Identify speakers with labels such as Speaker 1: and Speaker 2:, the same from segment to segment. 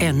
Speaker 1: En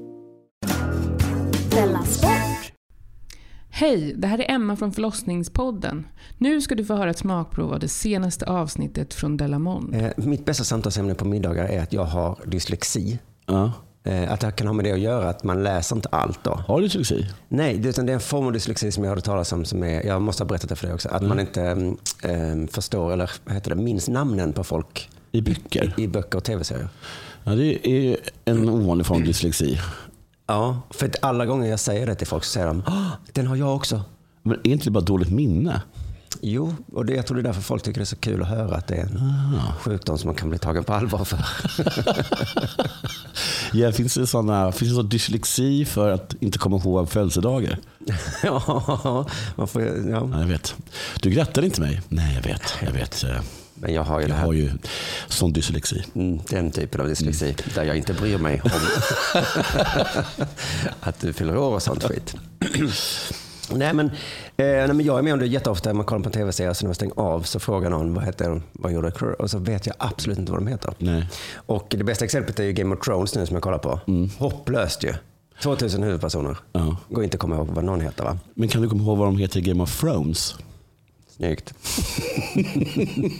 Speaker 2: Hej, det här är Emma från Förlossningspodden. Nu ska du få höra ett smakprov av det senaste avsnittet från Delamon.
Speaker 3: Eh, mitt bästa samtalsämne på middagar är att jag har dyslexi.
Speaker 4: Ja.
Speaker 3: Eh, att det kan ha med det att göra, att man läser inte allt då.
Speaker 4: Har du dyslexi?
Speaker 3: Nej, det- utan det är en form av dyslexi som jag hörde talas om. Som är, jag måste ha berättat det för dig också. Att man inte mm, eh, förstår, eller vad heter det, minns namnen på folk
Speaker 4: I böcker?
Speaker 3: i böcker och tv-serier.
Speaker 4: Ja, det är ju en ovanlig form av dyslexi.
Speaker 3: Ja, för att alla gånger jag säger det till folk så säger de "Ah, den har jag också.
Speaker 4: Men är inte det bara dåligt minne?
Speaker 3: Jo, och det, jag tror det är därför folk tycker det är så kul att höra att det är en sjukdom som man kan bli tagen på allvar för.
Speaker 4: Ja, finns, det såna, finns det sån dyslexi för att inte komma ihåg födelsedagar?
Speaker 3: ja, man får, ju- ja.
Speaker 4: Ja, jag vet. Du grattade inte mig. Nej, jag vet. Jag vet. Eh,
Speaker 3: Men jag har ju
Speaker 4: Jag
Speaker 3: det här
Speaker 4: har ju sån dyslexi.
Speaker 3: Mm, Den typen av dyslexi
Speaker 4: Mm.
Speaker 3: där jag inte bryr mig om att du fyller år och sånt skit. nej, men, eh, nej men jag är med om det jätteofta när man kollar på en tv-serie så när man stänger av så frågar någon vad heter de, vad gjorde crew? Och så vet jag absolut inte vad de heter.
Speaker 4: Nej.
Speaker 3: Och det bästa exemplet är ju Game of Thrones nu som jag kollar på. Hopplöst ju. 2000 huvudpersoner.
Speaker 4: Mm. Ja.
Speaker 3: Går inte att komma ihåg vad någon heter va?
Speaker 4: Men kan du komma ihåg vad de heter i Game of Thrones?
Speaker 3: Snyggt.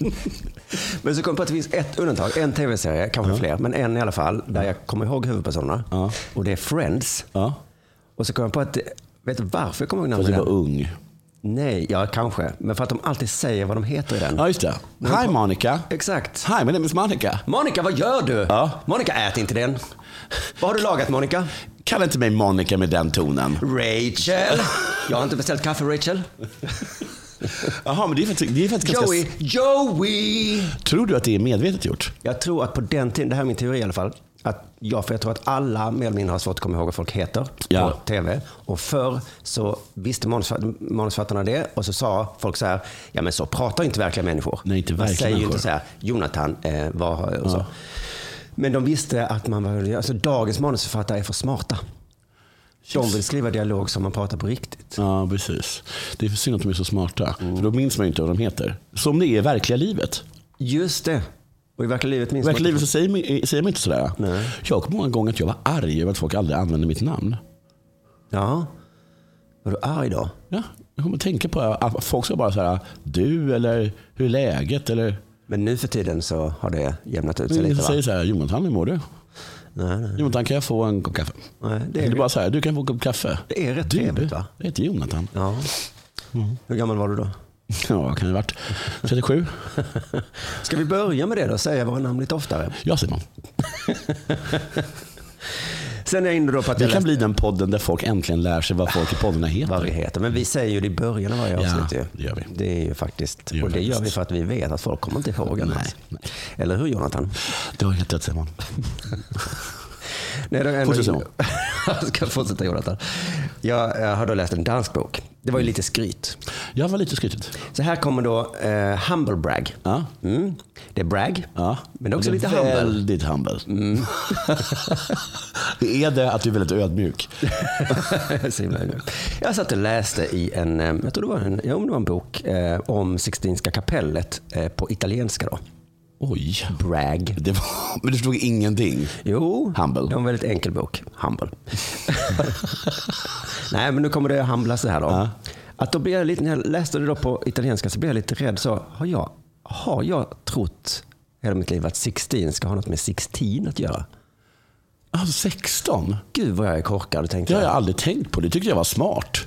Speaker 3: men så kom jag på att det finns ett undantag, en tv-serie, kanske fler, men en i alla fall, där jag kommer ihåg huvudpersonerna.
Speaker 4: Ja.
Speaker 3: Och det är Friends.
Speaker 4: Ja,
Speaker 3: Och så kom jag på att, vet du varför jag kommer ihåg
Speaker 4: för att du
Speaker 3: namnet?
Speaker 4: var ung.
Speaker 3: Nej, ja kanske. Men för att de alltid säger vad de heter i den.
Speaker 4: Ja, just det. Hi Monica.
Speaker 3: Exakt.
Speaker 4: Hi, my name is Monica.
Speaker 3: Monica, vad gör du?
Speaker 4: Ja.
Speaker 3: Monica, ät inte den. Vad har du lagat Monica?
Speaker 4: Kalla inte mig Monica med den tonen.
Speaker 3: Rachel. Jag har inte beställt kaffe Rachel.
Speaker 4: Jaha, men det är faktiskt, det är faktiskt ganska...
Speaker 3: Joey. Joey!
Speaker 4: Tror du att det är medvetet gjort?
Speaker 3: Jag tror att på den tiden, det här är min teori i alla fall, att ja, för jag tror att alla mer eller mindre har svårt att komma ihåg vad folk heter
Speaker 4: Ja.
Speaker 3: på tv. Och förr så visste manusförf- manusförfattarna det och så sa folk så här, ja men så pratar inte verkliga människor.
Speaker 4: Nej, inte
Speaker 3: Man
Speaker 4: verkliga
Speaker 3: säger ju
Speaker 4: människor.
Speaker 3: inte så här, Jonathan, eh, vad har jag? Och så. Men de visste att man var, alltså dagens manusförfattare är för smarta. De vill skriva dialog som man pratar på riktigt.
Speaker 4: Ja, precis. Det är för synd att de är så smarta.
Speaker 3: Mm.
Speaker 4: För då minns man ju inte vad de heter. Som det är i verkliga livet.
Speaker 3: Just det. Och i verkliga livet
Speaker 4: I
Speaker 3: minns
Speaker 4: verkliga
Speaker 3: man
Speaker 4: livet så säger man, säger man inte sådär. Jag kommer ihåg en gång att jag var arg över att folk aldrig använde mitt namn.
Speaker 3: Ja. Var du arg då?
Speaker 4: Ja, jag kommer att tänka på det. Folk sa bara så här, du eller hur är läget? Eller,
Speaker 3: Men nu för tiden så har det jämnat ut sig
Speaker 4: ingen
Speaker 3: lite va?
Speaker 4: säger så här, Jonathan hur mår du?
Speaker 3: Nej, nej.
Speaker 4: Jonathan kan jag få en kopp kaffe?
Speaker 3: Nej, det
Speaker 4: det
Speaker 3: är-
Speaker 4: är bara så här, du kan få en kopp kaffe.
Speaker 3: Det är rätt
Speaker 4: du,
Speaker 3: trevligt, va?
Speaker 4: Jag heter Jonathan. Ja,
Speaker 3: Ja.
Speaker 4: Mm.
Speaker 3: Hur gammal var du då?
Speaker 4: vad kan det ha varit? 37?
Speaker 3: Ska vi börja med det då? Säga våra namn lite oftare.
Speaker 4: Ja Simon.
Speaker 3: Sen är jag inne då på att
Speaker 4: Det
Speaker 3: jag
Speaker 4: kan
Speaker 3: läste
Speaker 4: bli den podden där folk äntligen lär sig vad folk i poddarna
Speaker 3: vad vi
Speaker 4: heter.
Speaker 3: heter. Men vi säger ju det i början av varje
Speaker 4: Ja,
Speaker 3: avsnitt. ju.
Speaker 4: det gör vi.
Speaker 3: Det är ju faktiskt,
Speaker 4: Det gör
Speaker 3: och det
Speaker 4: vi
Speaker 3: gör vi
Speaker 4: faktiskt.
Speaker 3: för att vi vet att folk kommer inte ihåg
Speaker 4: Nej,
Speaker 3: annars.
Speaker 4: nej.
Speaker 3: Eller hur Jonathan?
Speaker 4: Du har helt rätt Simon.
Speaker 3: Nej, då är jag ändå
Speaker 4: Fortsätt,
Speaker 3: inne-
Speaker 4: Simon.
Speaker 3: Jag ska fortsätta Jonathan. Jag, jag har då läst en dansk bok. Det var ju lite skryt.
Speaker 4: Jag var lite skrytigt.
Speaker 3: Så här kommer då eh, Humble Brag.
Speaker 4: Ja.
Speaker 3: Mm. Det är brag,
Speaker 4: Ja.
Speaker 3: men också
Speaker 4: Det är
Speaker 3: lite humble. Mm.
Speaker 4: Väldigt humble. det är det att du är väldigt ödmjuk.
Speaker 3: Så himla ödmjuk. jag satt och läste i en, eh, jag tror det var en, ja, om det var en bok eh, om Sixtinska kapellet eh, på italienska. Då.
Speaker 4: Oj.
Speaker 3: Brag.
Speaker 4: Det var, men du förstod ingenting.
Speaker 3: Jo,
Speaker 4: Humble.
Speaker 3: det var en väldigt enkel bok. Humble. Nej, men nu kommer det att humble så här då.
Speaker 4: Ja.
Speaker 3: Att då blir jag lite, när jag läste det då på italienska så blev jag lite rädd. Så har jag, har jag trott hela mitt liv att Sixtin ska ha något med Sixtin att göra?
Speaker 4: Ah, 16?
Speaker 3: Gud vad jag är korkad, tänkte
Speaker 4: Det har jag
Speaker 3: jag.
Speaker 4: aldrig tänkt på. Det tyckte jag var smart.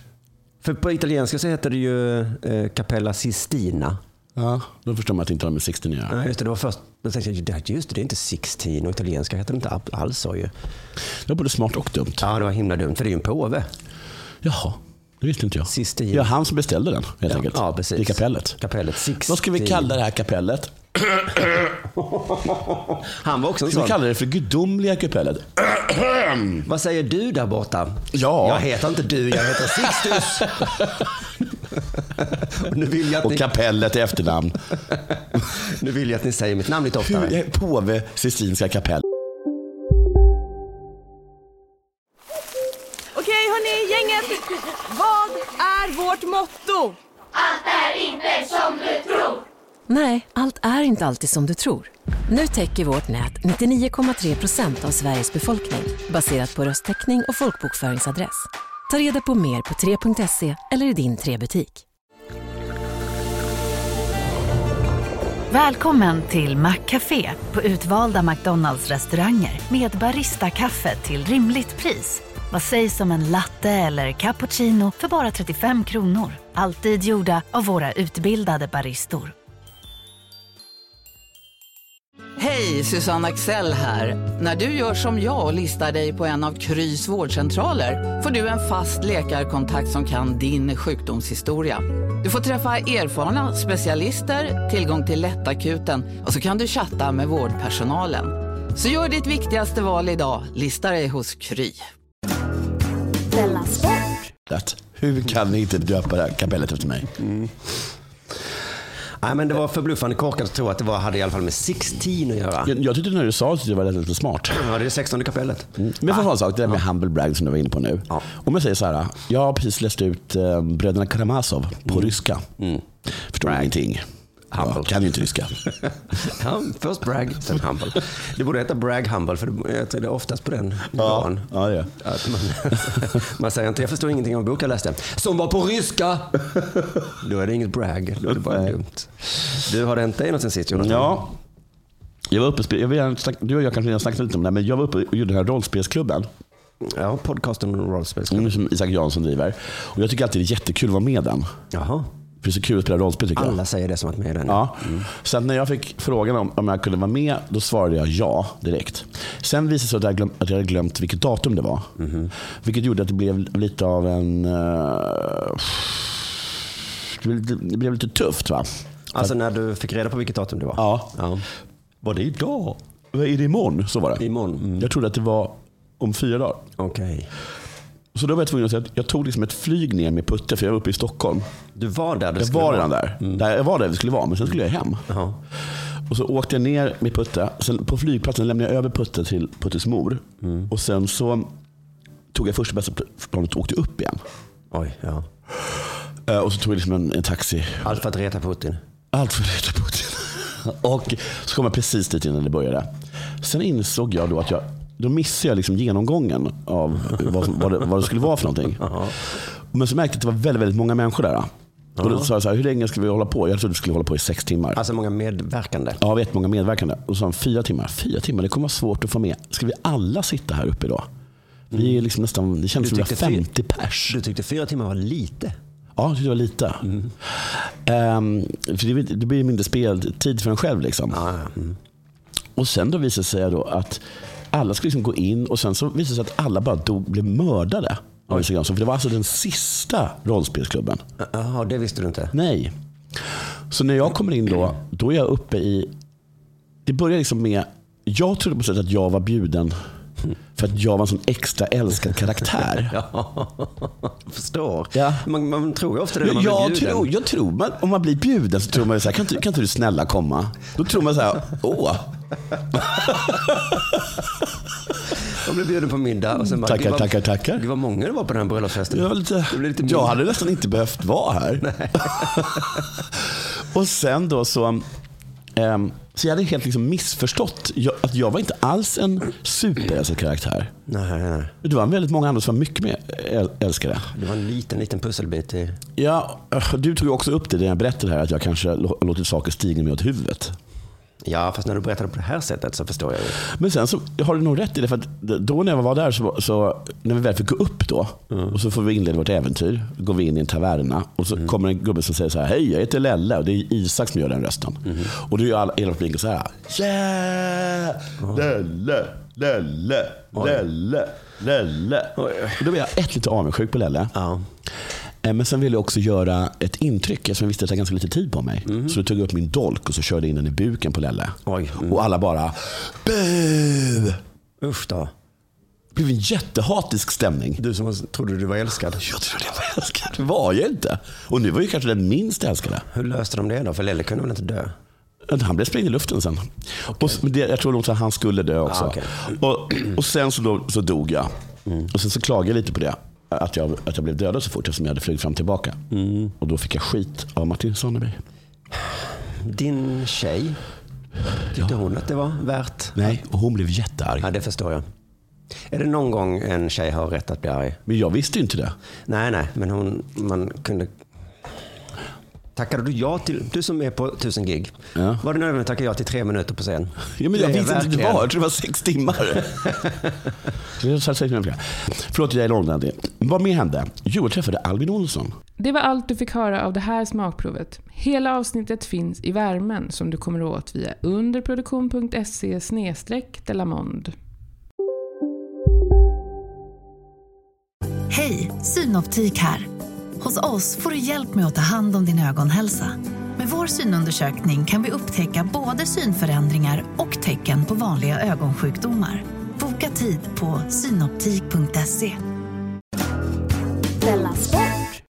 Speaker 3: För på italienska så heter det ju eh, Capella Sistina.
Speaker 4: Ja, då förstår man att det inte har med 16 att göra.
Speaker 3: Nej, just det. Det var först. Då tänkte jag, "Det- just det, det är inte 16 och italienska heter det inte ab- alls så ju.
Speaker 4: Det var både smart och dumt.
Speaker 3: Ja, det var himla dumt, för det är ju en påve.
Speaker 4: Jaha, det visste inte jag.
Speaker 3: Sistine.
Speaker 4: Ja, han som beställde den helt
Speaker 3: Ja,
Speaker 4: enkelt.
Speaker 3: ja, precis.
Speaker 4: I kapellet.
Speaker 3: Kapellet, Sixtine.
Speaker 4: Vad ska vi kalla det här kapellet?
Speaker 3: Han var också en
Speaker 4: Ska vi
Speaker 3: sån.
Speaker 4: kalla det för gudomliga kapellet?
Speaker 3: Vad säger du där borta?
Speaker 4: Ja.
Speaker 3: Jag heter inte du, jag heter Sixtus. Och nu, vill jag att
Speaker 4: Och
Speaker 3: ni,
Speaker 4: kapellet i efternamn.
Speaker 3: nu vill jag att ni säger mitt namn lite oftare.
Speaker 4: Hur- eh, Påve Sistinska kapell.
Speaker 5: Okej hörni, gänget. Vad är vårt motto?
Speaker 6: Nej, allt är inte alltid som du tror. Nu täcker vårt nät 99,3 procent av Sveriges befolkning baserat på röstteckning och folkbokföringsadress. Ta reda på mer på 3.se eller i din 3-butik.
Speaker 7: Välkommen till Maccafé på utvalda McDonalds restauranger med Baristakaffe till rimligt pris. Vad sägs om en latte eller cappuccino för bara 35 kronor? Alltid gjorda av våra utbildade baristor.
Speaker 8: Hej, Susanne Axel här. När du gör som jag och listar dig på en av Krys vårdcentraler får du en fast läkarkontakt som kan din sjukdomshistoria. Du får träffa erfarna specialister, tillgång till lättakuten och så kan du chatta med vårdpersonalen. Så gör ditt viktigaste val idag, listar dig hos Kry.
Speaker 4: Hur kan ni inte döpa det här kapellet efter mig?
Speaker 3: Nej, men det var förbluffande korkat att tro att det var, hade i alla fall med 16 att göra.
Speaker 4: Jag, jag tyckte när du sa att det var lite smart.
Speaker 3: Ja, det är 16 kapellet.
Speaker 4: Men jag får ha en sak, det där med humble brag som du var inne på nu.
Speaker 3: Ja.
Speaker 4: Om jag säger så här, jag har precis läst ut eh, Bröderna Karamazov på ryska. Förstår ingenting.
Speaker 3: Humble.
Speaker 4: Jag kan ju inte ryska.
Speaker 3: Ja, först brag, sen humble. Det borde heta brag humble, för det, jag tror det är oftast på den nivån.
Speaker 4: ja, det är.
Speaker 3: Att man, man säger inte, jag förstår ingenting av en bok jag läste. Som var på ryska! Då är det inget brag, då är det bara
Speaker 4: Nej.
Speaker 3: dumt. Du, har det hänt dig något sen sist Jonathan?
Speaker 4: Ja. Jag var uppe, och spe- jag vill gärna snacka, du och jag kanske redan snackat lite om det här, men jag var uppe och gjorde den här rollspelsklubben.
Speaker 3: Ja, podcasten om rollspel.
Speaker 4: Mm, Som Isak Jansson driver. Och jag tycker alltid det är jättekul att vara med den.
Speaker 3: Jaha.
Speaker 4: För det är så kul att spela rollspel tycker jag.
Speaker 3: Alla säger det som att med i den.
Speaker 4: Ja. Så att när jag fick frågan om, om jag kunde vara med, då svarade jag ja direkt. Sen visade det sig att jag, glöm, att jag hade glömt vilket datum det var. Vilket gjorde att det blev lite av en... eh, det, blev, lite- det blev lite tufft va?
Speaker 3: Alltså när du fick reda på vilket datum det var?
Speaker 4: Ja.
Speaker 3: ja.
Speaker 4: Var det idag? Vad Är det imorgon? Så var det.
Speaker 3: Imorgon. Mm.
Speaker 4: Jag trodde att det var om fyra dagar.
Speaker 3: Okej.
Speaker 4: Så då var jag tvungen att säga att jag tog liksom ett flyg ner med Putte för jag var uppe i Stockholm.
Speaker 3: Du var där du
Speaker 4: Jag
Speaker 3: skulle
Speaker 4: var
Speaker 3: vara.
Speaker 4: redan där. där. Jag var där vi skulle vara men sen skulle jag hem.
Speaker 3: Jaha.
Speaker 4: Och så åkte jag ner med Putte. Sen på flygplatsen lämnade jag över Putte till Puttes mor. Och sen så tog jag första bästa pl- planet och åkte upp igen.
Speaker 3: Oj, ja.
Speaker 4: Eh, Och så tog jag liksom en, en taxi.
Speaker 3: Allt för att reta Putin.
Speaker 4: Allt för att reta Putin. Och så kom jag precis dit innan det började. Sen insåg jag då att jag då missade jag liksom genomgången av vad, som, vad, det, vad det skulle vara för någonting. Men så märkte jag att det var väldigt, väldigt många människor där. Och då sa jag så här, hur länge ska vi hålla på? Jag trodde vi skulle hålla på i sex timmar.
Speaker 3: Alltså många medverkande.
Speaker 4: Ja, vi är många medverkande. Och så sa han fyra timmar. Fyra timmar, det kommer vara svårt att få med. Ska vi alla sitta här uppe idag? Vi är liksom nästan, det kändes
Speaker 3: Du
Speaker 4: som vi var
Speaker 3: tyckte fy-
Speaker 4: 50 pers.
Speaker 3: Du tyckte fyra timmar var lite.
Speaker 4: Ja, jag tyckte det var lite. Ehm, för det, blir- det blir mindre speltid för en själv. Liksom.
Speaker 3: Mm.
Speaker 4: Och sen då visade det sig då att alla skulle liksom gå in och sen så visade det sig att alla bara dog, blev mördade. Av Isak Jansson. För det var alltså den sista rollspelsklubben.
Speaker 3: Jaha, det visste du inte.
Speaker 4: Nej. Så när jag kommer in då, då är jag uppe i... Det börjar liksom med... Jag trodde på sätt att jag var bjuden för att jag var en sån extra älskad karaktär.
Speaker 3: Jag förstår.
Speaker 4: Ja.
Speaker 3: Man, man tror ju ofta det när man
Speaker 4: Jag
Speaker 3: blir bjuden.
Speaker 4: tror, jag tror man, om man blir bjuden så tror man ju så här, kan inte, kan inte du snälla komma? Då tror man så här, åh,
Speaker 3: Jag blev bjuden på middag och sen bara,
Speaker 4: Tackar,
Speaker 3: "Gud, vad-
Speaker 4: tackar, tackar."
Speaker 3: Gud vad många det var på den här bröllopsfesten.
Speaker 4: jag, var lite,
Speaker 3: det blev lite
Speaker 4: jag
Speaker 3: mindre.
Speaker 4: hade nästan inte behövt vara här. och sen då så, ehm, så jag hade helt liksom missförstått jag, att jag var inte alls en superälskad karaktär.
Speaker 3: Nej, nej, nej.
Speaker 4: Det var väldigt många andra som var mycket mer äl- älskade. eh,
Speaker 3: Det var en liten, liten pusselbit i...
Speaker 4: Ja, du tog ju också upp det när jag berättade här att jag kanske lå- låtit saker stiga mig åt huvudet.
Speaker 3: Ja, fast när du berättar det på det här sättet så förstår jag ju.
Speaker 4: Men sen så har du nog rätt i det. För att då när jag var där, så, så när vi väl fick gå upp då och så får vi inleda vårt äventyr. Går vi in i en taverna och så kommer en gubbe som säger så här. Hej, jag heter Lelle och det är Isak som gör den rösten. Och då gör alla, hela publiken så här. Yeah! Lelle, Lelle, Lelle, Lelle. Och då blev jag ett lite avundsjuk på Lelle. Eh, Men sen ville jag också göra ett intryck eftersom jag visste att jag hade ganska lite tid på mig.
Speaker 3: Mhm.
Speaker 4: Så då tog jag upp min dolk och så körde jag in den i buken på Lelle.
Speaker 3: Mm.
Speaker 4: Och alla bara Bu!
Speaker 3: Usch då.
Speaker 4: Det blev en jättehatisk stämning.
Speaker 3: Du som trodde du var älskad.
Speaker 4: Jag trodde jag var älskad. Det var jag inte. Och nu var jag kanske den minst älskade.
Speaker 3: Hur löste de det då? För Lelle kunde väl inte dö?
Speaker 4: Han blev sprängd i luften sen. Och s- men det, jag tror nog att han skulle dö också.
Speaker 3: Ah, okej. Mm.
Speaker 4: och, och sen så, då, så dog jag. Och sen så klagade jag lite på det. Att jag, att jag blev dödad så fort eftersom jag hade flugit fram och tillbaka.
Speaker 3: Mm.
Speaker 4: Och då fick jag skit av Martin Sonneberg.
Speaker 3: Din tjej, tyckte hon att det var värt?
Speaker 4: Nej, och hon blev jättearg.
Speaker 3: Ja, det förstår jag. Är det någon gång en tjej har rätt att bli arg?
Speaker 4: Men jag visste ju inte det.
Speaker 3: Nej, nej, men hon, man kunde... Tackade du ja till, du som är på 1000 gig,
Speaker 4: Ja.
Speaker 3: var det nödvändigt att tacka ja till tre minuter på scen?
Speaker 4: Ja, men jag
Speaker 3: Det är
Speaker 4: visste inte att
Speaker 3: verkligen-
Speaker 4: det var. Jag trodde det var sex timmar. Det är så här sex timmar flera. Förlåt, jag är långrandig. Vad mer hände? Jo, jag träffade Albin Olsson.
Speaker 2: Det var allt du fick höra av det här smakprovet. Hela avsnittet finns i värmen som du kommer åt via underproduktion.se delamond.
Speaker 7: Hej, Synoptik här. Hos oss får du hjälp med att ta hand om din ögonhälsa. Med vår synundersökning kan vi upptäcka både synförändringar och tecken på vanliga ögonsjukdomar. Boka tid på synoptik.se.
Speaker 9: Della Sport!